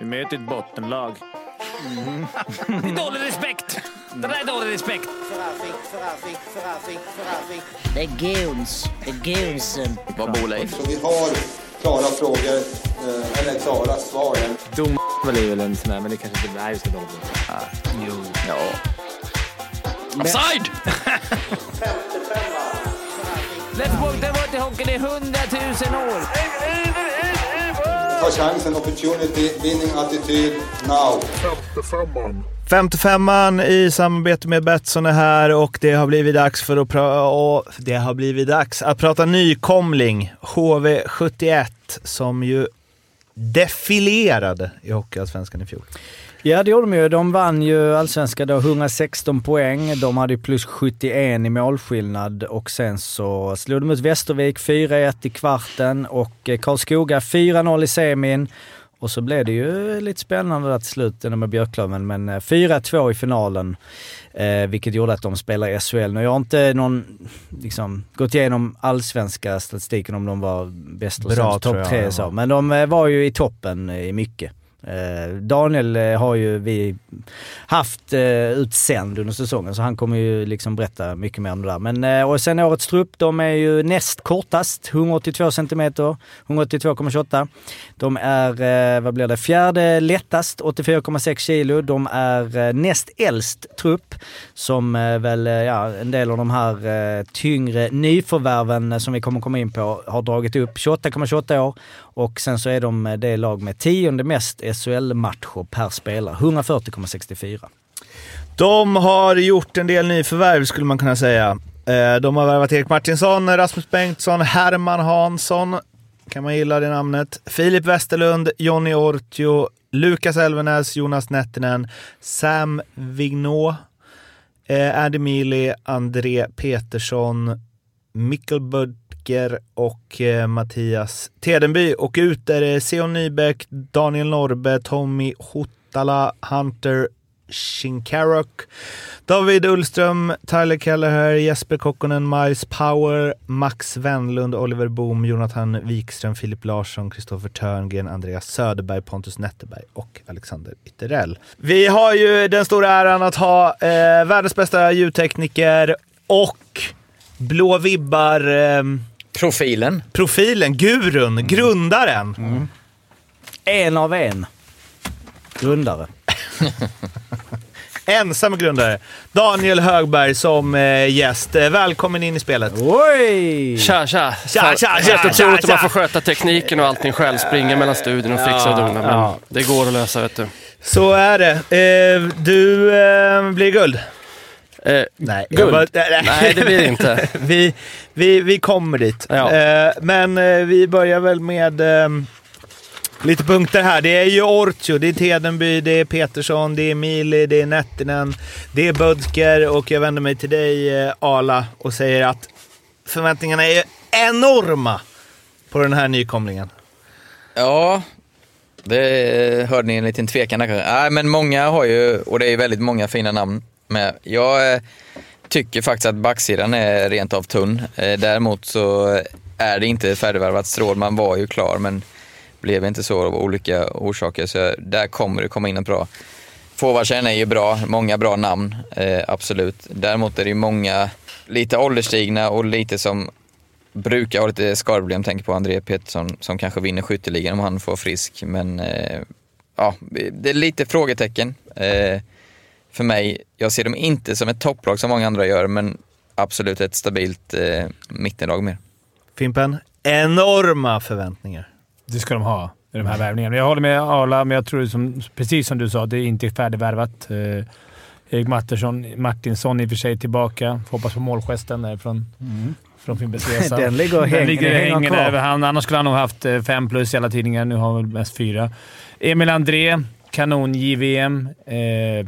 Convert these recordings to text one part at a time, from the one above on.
Vi möter ett bottenlag. Mm. Det är dålig respekt. Det där är dålig respekt. Det är goons. um, Det är goonsen. Vad bor Leif? Vi har klara frågor, eh, eller klara svar. Dom är väl en sån där, men det kanske inte är just det. dom. Ah, Ja. Offside! Let's det har varit i hockeyn i hundratusen år. Ta chansen, opportunity, winning attityd, now. 55an i samarbete med Betsson är här och det har blivit dags för att, pra- och det har blivit dags att prata nykomling, HV71, som ju defilerade i Hockeyallsvenskan i fjol. Ja det gjorde de ju. De vann ju allsvenskan då, 116 poäng. De hade ju plus 71 i målskillnad och sen så slog de ut Västervik 4-1 i kvarten och eh, Karlskoga 4-0 i semin. Och så blev det ju lite spännande där till slut ändå med Björklöven, men eh, 4-2 i finalen. Eh, vilket gjorde att de spelar i SHL. Nu har jag inte någon, liksom, gått igenom allsvenska statistiken om de var bäst och Bra, sämst, tror topp jag. tre och så. Men de eh, var ju i toppen eh, i mycket. Eh, Daniel eh, har ju vi haft eh, utsänd under säsongen så han kommer ju liksom berätta mycket mer om det där. Men, eh, och sen årets trupp, de är ju näst kortast, 182 centimeter, 182,28. De är, eh, vad blir det, fjärde lättast, 84,6 kilo. De är eh, näst äldst trupp som eh, väl, eh, ja, en del av de här eh, tyngre nyförvärven eh, som vi kommer komma in på har dragit upp 28,28 år och sen så är de eh, det lag med tionde mest SHL-matcher per spelare, 140,64. De har gjort en del nyförvärv skulle man kunna säga. Eh, De har värvat Erik Martinsson, Rasmus Bengtsson, Herman Hansson. Kan man gilla det namnet. Filip Westerlund, Jonny Ortio, Lukas Elvenäs, Jonas Nettinen, Sam Vignot, eh, Andy Mili, André Petersson, Mikkel Bödker och eh, Mattias Tedenby. Och ut är det Seon Nybeck, Daniel Norbe, Tommy Hotala, Hunter Shinkarok, David Ullström, Tyler Kelleher, Jesper Kokkonen, Miles Power, Max Wendlund, Oliver Boom, Jonathan Wikström, Filip Larsson, Kristoffer Törngren, Andreas Söderberg, Pontus Netterberg och Alexander Ytterell. Vi har ju den stora äran att ha eh, världens bästa ljudtekniker och blå vibbar eh, Profilen. profilen, gurun, grundaren. En av en. Grundare. Ensam grundare. Daniel Högberg som eh, gäst. Eh, Välkommen in i spelet. Oj! Tja, tja! Mm. tja, tja, tja, Jättetur att tja. man får sköta tekniken och allting själv. Springa mellan studion och fixa och dona. Men ja. det går att lösa, vet du. Så är det. Eh, du eh, blir guld. Eh, Nej, Guld? nej, nej, det blir det inte. vi, vi, vi kommer dit. Ja. Eh, men eh, vi börjar väl med eh, lite punkter här. Det är ju Ortio, det är Tedenby, det är Petersson, det är Mili, det är Nettinen, det är Bödker och jag vänder mig till dig eh, Arla och säger att förväntningarna är ju enorma på den här nykomlingen. Ja, det hörde ni en liten tvekan där kanske. Nej, men många har ju, och det är ju väldigt många fina namn med. Jag eh, tycker faktiskt att backsidan är rent av tunn. Eh, Däremot så är det inte färdigvärvat strål. Man var ju klar men blev inte så av olika orsaker. Så där kommer det komma in något bra. Forwardsen är ju bra, många bra namn, eh, absolut. Däremot är det ju många lite ålderstigna och lite som brukar ha lite skadeproblem. Tänker på André Pettersson som kanske vinner skytteligan om han får frisk. Men eh, ja, det är lite frågetecken eh, för mig. Jag ser dem inte som ett topplag som många andra gör, men absolut ett stabilt eh, mittenlag mer. Fimpen, enorma förväntningar. Det ska de ha i de här värvningarna. Jag håller med Arla, men jag tror som, precis som du sa, det är inte färdigvärvat. Eh, Erik Martinsson, Martinsson i och för sig tillbaka. Får hoppas på målgesten där från, från Fimpens Resa. Mm. Den ligger och hänger- Den ligger och den hänger hänger kvar. där över han. Annars skulle han nog haft eh, fem plus i alla tidningar. Nu har han väl mest fyra. Emil André, kanon-JVM. Eh,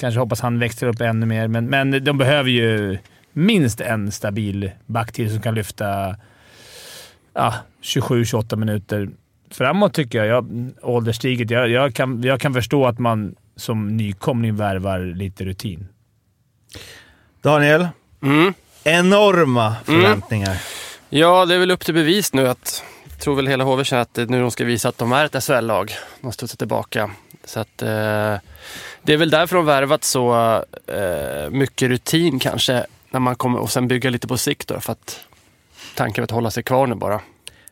kanske hoppas han växer upp ännu mer, men, men de behöver ju minst en stabil back till som kan lyfta ja, 27-28 minuter framåt tycker jag. jag ålderstiget. Jag, jag, kan, jag kan förstå att man som nykomling värvar lite rutin. Daniel, mm. enorma förväntningar. Ja, det är väl upp till bevis nu att tror väl hela HV känner att eh, nu de ska visa att de är ett SHL-lag. De studsar tillbaka. Så att, eh, det är väl därför de värvat så eh, mycket rutin kanske. När man kommer, och sen bygga lite på sikt då, för att tanken är att hålla sig kvar nu bara.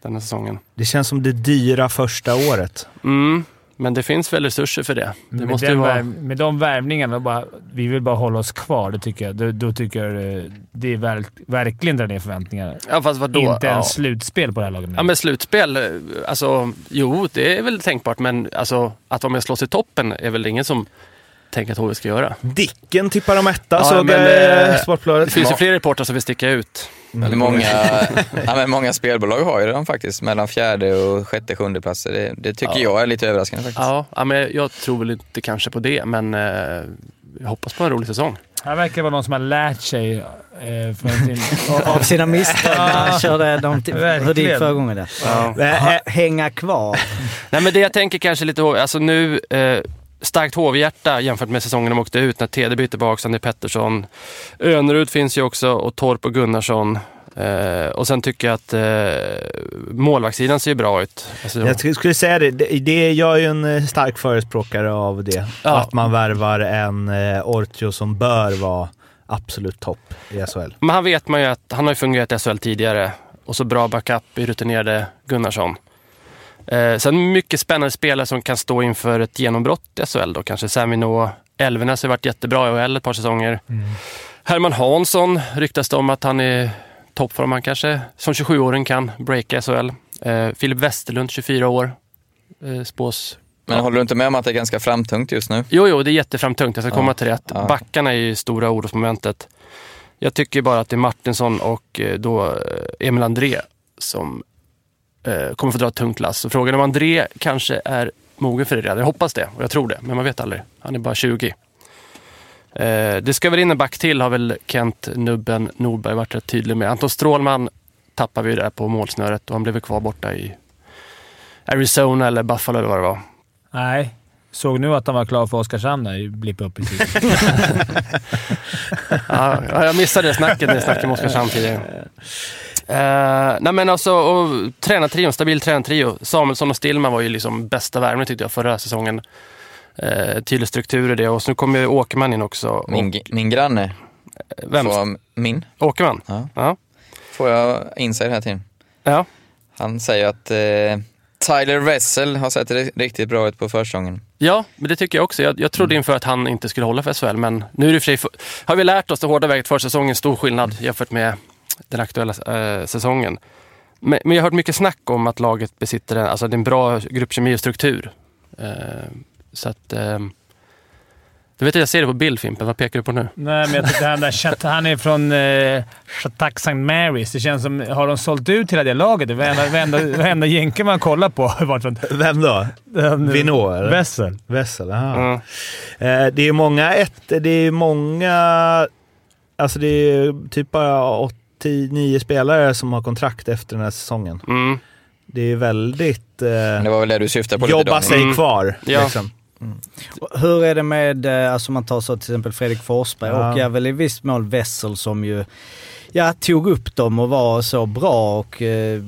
Den här säsongen. Det känns som det dyra första året. Mm, men det finns väl resurser för det. Det Med, måste ju den vara... värv- med de värvningarna, bara, vi vill bara hålla oss kvar. Det tycker jag. Då, då tycker jag eh, det är verk, verkligen drar ner förväntningarna. Ja, fast vadå? Inte ja. ens slutspel på det här laget. Ja men slutspel, eh, alltså jo det är väl tänkbart men alltså att vara med och slåss i toppen är väl ingen som tänker att HV ska göra. Dicken tippar om etta, Ja, såg men, jag i eh, Det Sportbladet. finns ju fler reportrar som vill sticka ut. Många, ja, men många spelbolag har ju dem faktiskt, mellan fjärde och sjätte, sjunde platser. Det, det tycker jag är lite överraskande faktiskt. Ja, ja men jag tror väl inte kanske på det men eh, jag hoppas på en rolig säsong. Här verkar vara någon som har lärt sig eh, från sin... Av sina misstag när han körde de t- hur det gick Verkligen. förra gången. Där. Ja. Ha- Hänga kvar. Nej men det jag tänker kanske lite, alltså nu, eh, starkt HV-hjärta jämfört med säsongen de åkte ut när Tedeby är tillbaka, Sandy Pettersson. Önerud finns ju också och Torp och Gunnarsson. Eh, och sen tycker jag att eh, målvaktssidan ser ju bra ut. Alltså, Jag sk- skulle säga det, det, det jag är ju en eh, stark förespråkare av det. Ja. Att man värvar en eh, Ortio som bör vara absolut topp i SHL. Men han vet man ju att han har ju fungerat i SHL tidigare och så bra backup i rutinerade Gunnarsson. Eh, sen mycket spännande spelare som kan stå inför ett genombrott i SHL då kanske. Samino, Elvenes har varit jättebra i OHL ett par säsonger. Herman Hansson ryktas det om att han är toppform han kanske, som 27-åring kan breaka SHL. Eh, Filip Westerlund, 24 år, eh, spås Men håller du inte med om att det är ganska framtungt just nu? Jo, jo, det är jätteframtungt. Jag ska Ja, komma till det. Att ja. Backarna är ju stora orosmomentet. Jag tycker bara att det är Martinsson och eh, då eh, Emil André som eh, kommer få dra ett tungt lass. Så frågan är om André kanske är mogen för det redan. Jag hoppas det och jag tror det, men man vet aldrig. Han är bara 20. Eh, det ska väl in en back till har väl Kent Nubben Norberg varit rätt tydlig med. Anton Strålman tappar vi ju där på målsnöret och han blev väl kvar borta i Arizona eller Buffalo eller vad det var. Nej. Såg nu att han var klar för Oskarshamn där. Blippa upp precis. ja, ja, jag missade det snacket när ni snackade om Oskarshamn tidigare. Eh, nej men alltså, och tränartrion, stabil tränartrio. Samuelsson och Stillman var ju liksom bästa värmen tyckte jag förra säsongen. Uh, tydlig struktur i det och så nu kommer ju Åkerman in också. Min, gr- min granne, och, vem? får, min, Åkerman? Ja. Ja. får jag insight här till. ja. Han säger att eh, Tyler Wessel har sett ri- riktigt bra ut på försäsongen. Ja, men det tycker jag också. Jag, jag trodde inför att han inte skulle hålla för SHL, men nu är det i och för sig, för- har vi lärt oss det hårda väget för säsongen, stor skillnad jämfört med den aktuella eh, säsongen. Men, men jag har hört mycket snack om att laget besitter en, alltså det är en bra gruppkemi och struktur. Eh, så att... Eh, du vet att jag ser det på bild Fimpen, vad pekar du på nu? Nej, men jag tyckte han där Chat- Han är från eh, Chattac St. Marys. Det känns som... Har de sålt ut hela det laget? Varenda, varenda, varenda jänke man kollar på har varit från... Vem då? Vinå, eller? Vessel. Wessel? aha. Mm. Eh, det är många ett, det är många... Alltså det är typ bara 89 spelare som har kontrakt efter den här säsongen. Mm. Det är väldigt... Det Eh, var väl det du syftade på lite jobba Daniel. sig Mm. kvar, Ja. liksom. Hur är det med, eh, alltså om man tar så till exempel Fredrik Forsberg Ja. och jag väl i viss mån Wessel som ju ja, tog upp dem och var så bra och eh,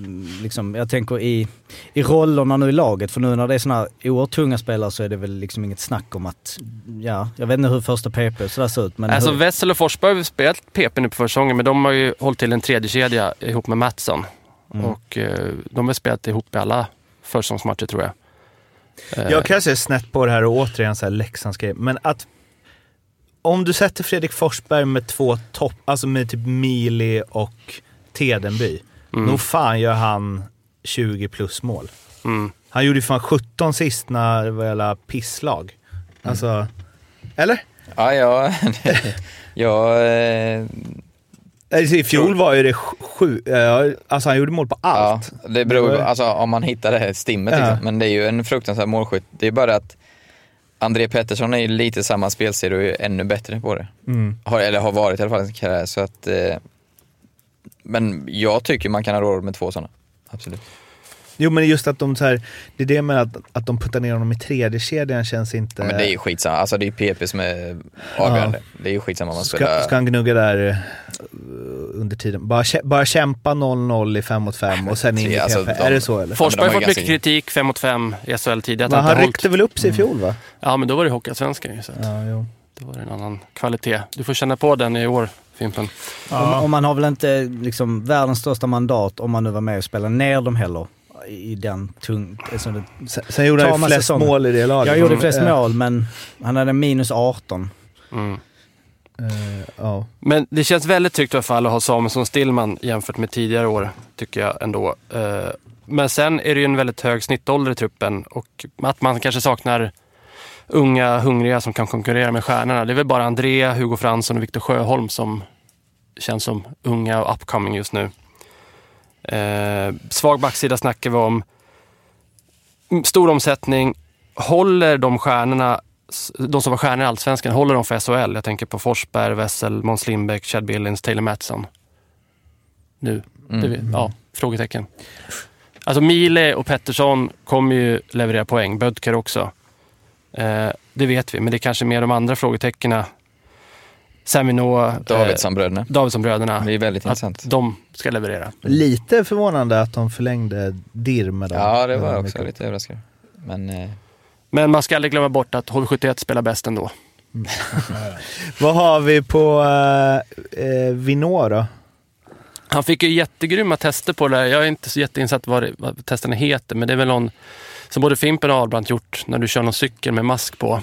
liksom, jag tänker i, i rollerna nu i laget. För nu när det är sådana här oerhört tunga spelare så är det väl liksom inget snack om att, ja, jag vet inte hur första PP och sådär ser ut men Alltså hur, Wessel och Forsberg har ju spelat PP nu på försäsongen, men de har ju hållit till en tredje kedja ihop med Mattsson. Mm. Och eh, de har spelat ihop i alla försäsongsmatcher tror jag. Eh, Jag kan se snett på det här och återigen så här Leksandsgrej, men att... Om du sätter Fredrik Forsberg med två topp, alltså med typ Mili och Tedenby, Mm. nog fan gör han 20 plus mål. Mm. Han gjorde ju fan 17 sist när det var jävla pisslag. Mm. Alltså... Eller? Ja, ja. ja eh, Alltså, I fjol var ju det sj- sju... eh, Alltså han gjorde mål på Ja, allt. det beror Det ju var- alltså, om man hittar det här stimmet. Ja. Liksom. Men det är ju en fruktansvärd målskytt. Det är bara att André Pettersson är ju lite samma spelstil och är ju ännu bättre på det. Mm. Har, eller har varit i alla fall i sin karriär. Så att, eh, men jag tycker man kan ha råd med två sådana. Absolut. Jo, men just att de så här, det är det med att, att de puttar ner honom i tredje kedjan känns inte... Ja, men det är ju skitsamma. Alltså det är ju PP som är avgörande. Det är ju skitsamma om man ska, spelar... ska han gnugga där eh, under tiden? Bara, kä- bara kämpa 0-0 i 5 mot 5 och sen in i tre, alltså, PP. de- Är det så eller? Ja, men de Forsberg har har ju fått mycket ganska- kritik, 5 mot 5 i SHL tidigare. Men Att han han inte hållit. ryckte väl upp sig i fjol va? Ja, men då var det Hockeyallsvenskan ju. Så att Ja, jo. då var det en annan kvalitet. Du får känna på den i år, Fimpen. Och, och man har väl inte liksom världens största mandat om man nu var med och spelade ner dem heller. I den tung... Alltså det, Mm. Sen, sen gjorde han ju Thomas flest säsong. mål i det laget. jag gjorde flest Eh, mål men han hade minus 18. Mm. eh, ja. Men det känns väldigt tryggt i alla fall att ha Samuelsson och Stillman jämfört med tidigare år, tycker jag ändå. Eh, Men sen är det ju en väldigt hög snittålder i truppen och att man kanske saknar unga, hungriga som kan konkurrera med stjärnorna. Det är väl bara André, Hugo Fransson och Viktor Sjöholm som känns som unga och upcoming just nu. Eh, Svag backsida snackar vi om. Mm, Stor omsättning. Håller de stjärnorna de som var stjärnor i Allsvenskan, håller de för SHL? Jag tänker på Forsberg, Wessel, Måns Lindbäck, Chad Billings, Taylor Mattsson. Nu. Mm. Det, vet- ja, frågetecken. Alltså Mile och Pettersson kommer ju leverera poäng. Bödker också. Eh, det vet vi, men det är kanske mer de andra frågetecknen. Samino, Davidsson-bröderna. Davidsson-bröderna. Det är väldigt eh, Att intressant. de ska leverera. Lite förvånande att de förlängde Dir med dem. Ja, det var Eh, jag också mycket. lite överraskande. Men eh, Men man ska aldrig glömma bort att HV71 spelar bäst ändå. Vad har vi på eh, eh, Vinå då? Han fick ju jättegrymma tester på det där. Jag är inte så jätteinsatt vad, det, vad testerna heter, men det är väl någon som både Fimpen och Ahlbrandt gjort när du kör någon cykel med mask på.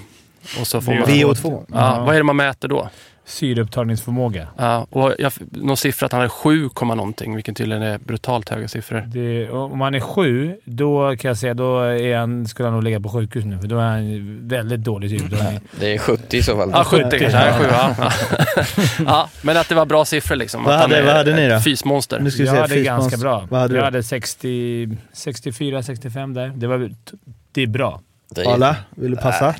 Och så får man, Vi- VO2? ja, vad är det man mäter då? Syreupptagningsförmåga. Ja, och jag, någon siffra att han är 7, komma någonting, vilket tydligen är brutalt höga siffror. Det, om han är sju, då kan jag säga då är han, skulle han nog ligga på sjukhus nu, för då är han väldigt dålig syreupptagning. det är 70 i så fall. Ja, 70 kanske. Ja, 7, ja. ja, men att det var bra siffror liksom. Vad att han hade- är vad hade ni då? ett Fysmonster. Nu ska vi Jag se, hade Fismans- ganska bra. Vad hade jag du? hade 60, 64, 65 där. Det, var, det är bra. Det är- Arla, vill du passa?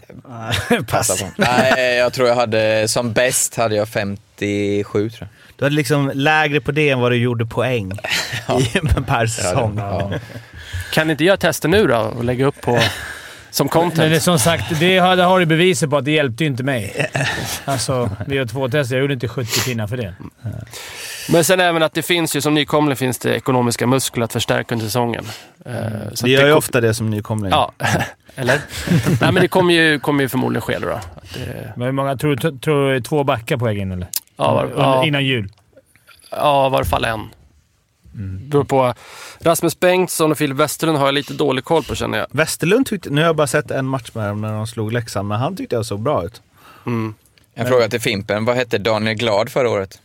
Passa på. Nej, jag tror jag hade, som bäst hade jag 57 tror jag. Du hade liksom lägre på det än vad du gjorde poäng i, per säsong. Ja, det- Kan ni inte göra tester nu då och lägga upp på, som Men content? det, är som sagt, det har, det har du beviset på att det hjälpte ju inte mig. Alltså, vi har två tester. Jag gjorde inte 70 pinnar för det. Men sen även att det finns ju, som nykomling finns det ekonomiska muskler att förstärka under säsongen. Eh, så Vi att gör ju kom- ofta det som nykomling. Ja, eller? Nej, men det kommer ju, kommer ju förmodligen ske då. då. Att det, Men hur många tror du? Tror du två backar på väg in, eller? ja, var, Under- ja, Innan jul. ja, i varje fall en. Mm. Beror på. Rasmus Bengtsson och Filip Westerlund har jag lite dålig koll på känner jag. Westerlund tyckte... Nu har jag bara sett en match med dem när de slog Leksand, men han tyckte jag såg bra ut. Mm. En fråga till Fimpen. Vad hette Daniel Glad förra året?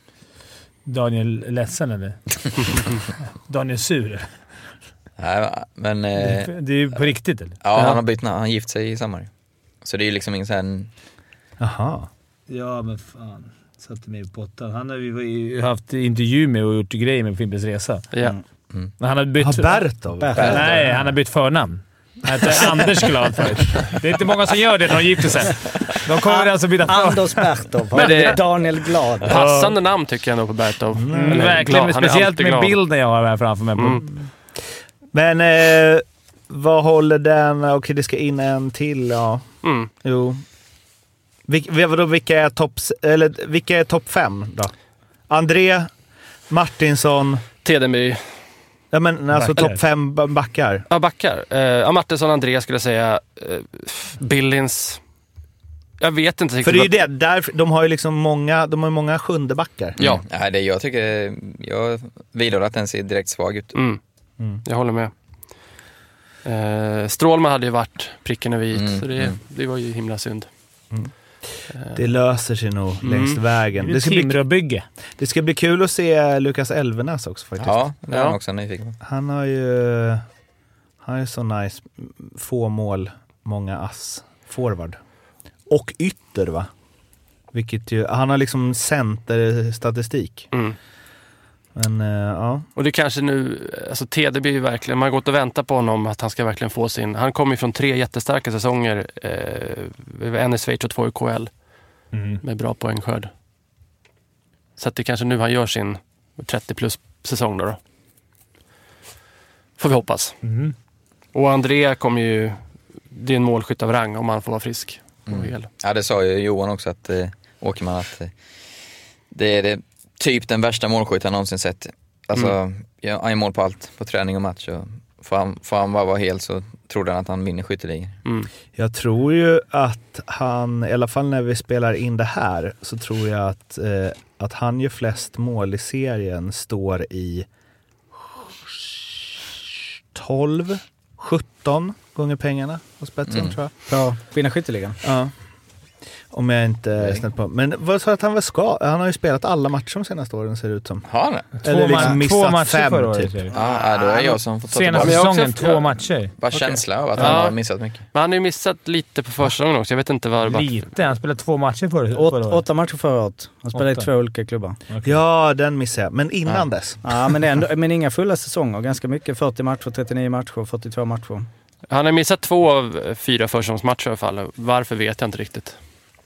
Daniel ledsen, eller? Daniel sur? Nej, va? men eh, Det är ju på riktigt, eller? ja, han har bytt namn. Han gift sig i sommar. Så det är ju liksom ingen sån... Jaha. Ja, men fan. Satte mig i pottan. Han har vi haft intervju med och gjort grejer med Fimpens Resa. Ja. Mm. Men Han har bytt... Har Bert då? Nej, han har bytt förnamn. Han heter Anders Glad förut. Det är inte många som gör det när de gifter sig. De kommer alltså byta förnamn. Anders Pertov har Men det- Daniel Glad. Passande namn tycker jag nog på Bertov. Mm, Eller verkligen, glad. Han är speciellt alltid med glad. Mm. bilden jag har här framför mig. På. Men eh, vad håller den... Okej, det ska in en till. Ja. Mm. Jo. Vil, vil- vadå, vilka är topp... s- Eller vilka är topp fem då? André, Martinsson... Tedemy. Ja, men alltså Backar. topp fem ba- backar. Ja, backar. Eh, Ja, Martinsson, André skulle jag säga. Eh, Billings. Jag vet inte riktigt. För det är ju vad- det. Där, de har ju liksom många, de har ju många sjunde backar. Ja. Mm. Nej, det jag tycker... Jag vidhåller att den ser direkt svag ut. Mm. Jag håller med. Eh, Strålman hade ju varit pricken över i, Mm, så det, mm. det var ju himla synd. Eh, Det löser sig nog Mm. längs Det vägen. är Det ska, bli, Timråbygge. det ska bli kul att se Lukas Elvenäs också faktiskt. Ja, det är Ja. han också nyfiken på. Han har ju... Han är så nice. Få mål, många ass. Forward. Och ytter va? Vilket ju, han har liksom centerstatistik. Mm. Men eh, ja, Och det kanske nu, alltså Tedeby är ju verkligen, man har gått och väntat på honom att han ska verkligen få sin, han kommer ju från tre jättestarka säsonger, eh, en i Schweiz och två i KL Mm. med bra poängskörd. Så att det kanske nu han gör sin 30 plus säsong då. då. Får vi hoppas. Mm. Och André kommer ju... Det är en målskytt av rang om han får vara frisk Mm. och hel. Ja, det sa ju Johan också att eh, Åkerman att eh, det är det, typ den värsta målskytt han någonsin sett. Alltså, ja, han gör mål på allt, på träning och match. Och får, han, får han bara vara hel så trodde han att han vinner skytteligan. Jag tror ju att han, i alla fall när vi spelar in det här, så tror jag att, eh, att han gör flest mål i serien står i 12, 17 gånger pengarna hos Betsson tror jag. Ja, vinna skytteligan. Ja. Om jag inte är snett på. Men vad sa att han var ska? Han har ju spelat alla matcher de senaste åren ser det ut som. Har han det? Ah, Två, Eller liksom ma- missat två matcher fem, förra året. typ. säger du. Ja, då är jag som får ta Senaste tillbaka. jag säsongen, också- två matcher. Bara känsla av att Ja. han har missat mycket. Men han har ju missat lite på försäsongen också. Jag vet inte vad det var. Lite. Han spelade två matcher förra Åt, förra året. åtta matcher förra året. Han spelade i Åtta. två olika klubbar. Ja, den missade jag. Men innan dess. Ja, men, ändå, men inga fulla säsonger. Ganska mycket. 40 matcher, 39 matcher, 42 matcher. Han har missat två av eh, fyra försäsongsmatcher i alla fall. Varför vet jag inte riktigt.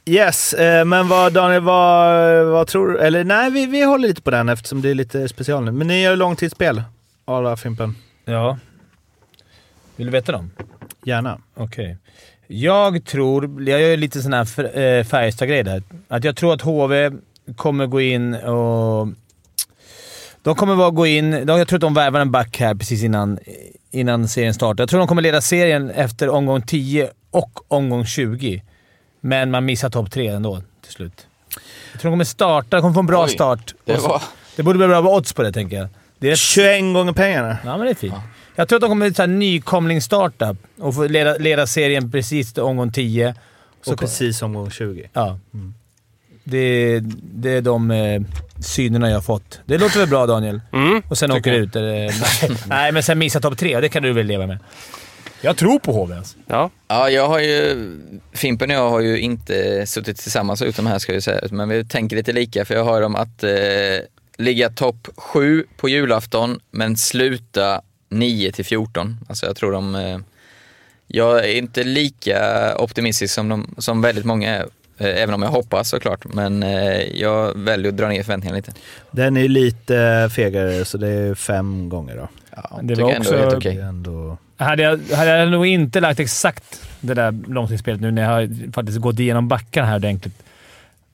Yes, eh, men vad Daniel, vad, vad tror du? Eller nej, vi, vi håller lite på den eftersom det är lite special nu. Men ni gör långtidsspel, Arla Fimpen. Ja. Vill du veta dem? Gärna. Okej. Jag tror, jag gör lite sån här fr- eh, Färjestad-grej där. Att jag tror att HV kommer gå in och... De kommer bara gå in... De, jag tror att de värvar en back här precis innan, innan serien startar. Jag tror de kommer leda serien efter omgång 10 och omgång 20. Men man missar topp 3 ändå till slut. Jag tror de kommer starta. De kommer få en bra Oj, start. Det Och så- var... det borde bli bra odds på det, tänker jag. Det är rätt 21 gånger pengarna. Ja, men det är fint. Jag tror att de kommer att nykomlingsstarta och få leda, leda serien precis till omgång 10. Så precis omgång 20. Ja. Det, det är de eh, synerna jag har fått. Det låter väl bra, Daniel? Mm. Och sen åker du ut. Eller, nej, men sen missar topp tre. Det kan du väl leva med? Jag tror på HV alltså. Ja. Ja, jag har ju... Fimpen och jag har ju inte suttit tillsammans och gjort de här ska jag ju säga, men vi tänker lite lika för jag har dem att eh, ligga topp 7 på julafton men sluta 9 till 14. Alltså jag tror de... Eh, jag är inte lika optimistisk som, de, som väldigt många är, eh, även om jag hoppas såklart, men eh, jag väljer att dra ner förväntningarna lite. Den är ju lite fegare, så det är fem gånger då. Ja, Det tycker var jag ändå är också- helt Det okej. är ändå... Hade jag, hade jag nog inte lagt exakt det där långtidsspelet nu när jag har faktiskt gått igenom backarna här ordentligt.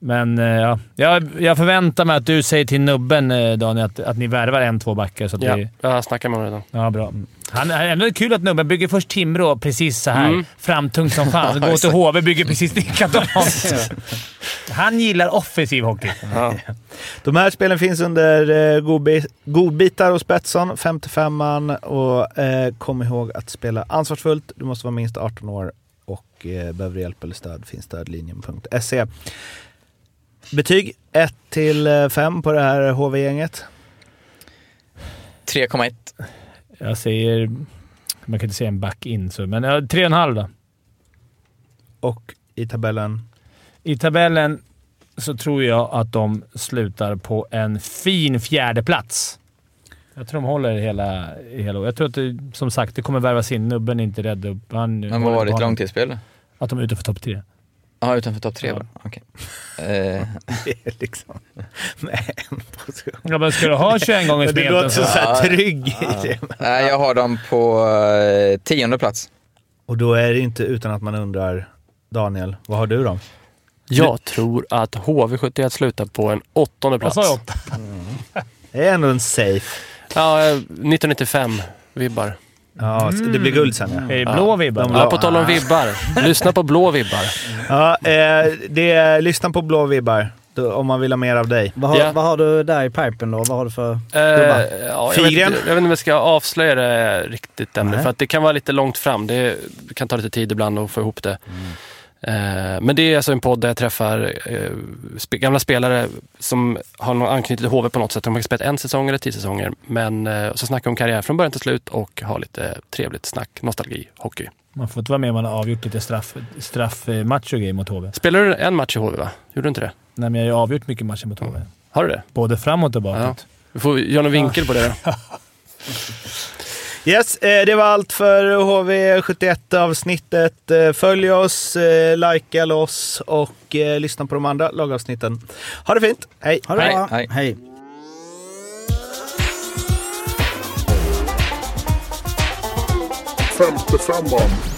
Men eh, ja, jag, jag förväntar mig att du säger till nubben, eh, Daniel, att, att ni värvar en, två backar. Så att Ja, vi, jag snackar med honom redan. ja, bra. Han, han- ändå är det kul att nubben bygger först Timrå precis så här. Mm. Framtungt som fan. Går till HV bygger precis likadant. Han gillar offensiv hockey. Ja. De här spelen finns under eh, godbi- godbitar hos Betsson, 55an. Och eh, kom ihåg att spela ansvarsfullt. Du måste vara minst 18 år och eh, behöver du hjälp eller stöd finns stödlinjen.se. Betyg 1 till 5 på det här HV-gänget. 3,1. Jag säger... Man kan inte säga en back in, så, men ja, tre och en halv då. Och i tabellen I tabellen så tror jag att de slutar på en fin fjärde plats. Jag tror de håller hela, hela Jag tror att det, som sagt, det kommer värvas in. Nubben är inte rädd. upp. Han, Men vad var ditt långtidsspel då? Att de är utanför topp tre. Ja, utanför topp 3 Ja. bara? Okej. Eh, Det är liksom med en position. Ja, men ska du ha 21 gånger Men du smeten låter så så... här trygg i det. Nej, jag har dem på eh, tionde plats. Och då är det inte utan att man undrar, Daniel, vad har du då? Jag tror att HV71 slutar på en åttonde Vad plats. sa jag? åtta? Det är ändå en safe. Ja, eh, 1995-vibbar. Ja, Det blir guld sen ja. Är det blå vibbar? De Ja, på tal om vibbar. Lyssna på blå vibbar. ja eh, det är, lyssna på Blå vibbar då, om man vill ha mer av dig. Vad har, Ja. vad har du där i pipen då? Vad har du för... Eh, ja, jag, vet, Fyrgren. inte- jag vet inte om jag ska avslöja det riktigt ännu, Nej. för att det kan vara lite långt fram. Det kan ta lite tid ibland att få ihop det. Eh, Men det är alltså en podd där jag träffar eh, sp- gamla spelare som har någon anknytning till HV på något sätt. De har spelat en säsong eller tio säsonger. Men eh, så snackar vi om karriär från början till slut och har lite trevligt snack, nostalgi, hockey. Man får inte vara med om man har avgjort lite straff, straffmatcher och grejer mot HV. Spelade du en match i HV, va? Gjorde du inte det? Nej, men jag har ju avgjort mycket matcher mot HV. Har du det? Både framåt och bakåt. Vi får göra någon vinkel på det då. Yes, eh, det var allt för HV71-avsnittet. Eh, följ oss, eh, likea oss och eh, lyssna på de andra lagavsnitten. Ha det fint! Hej! Ha det Hej, bra! hej. Hej. femte femman.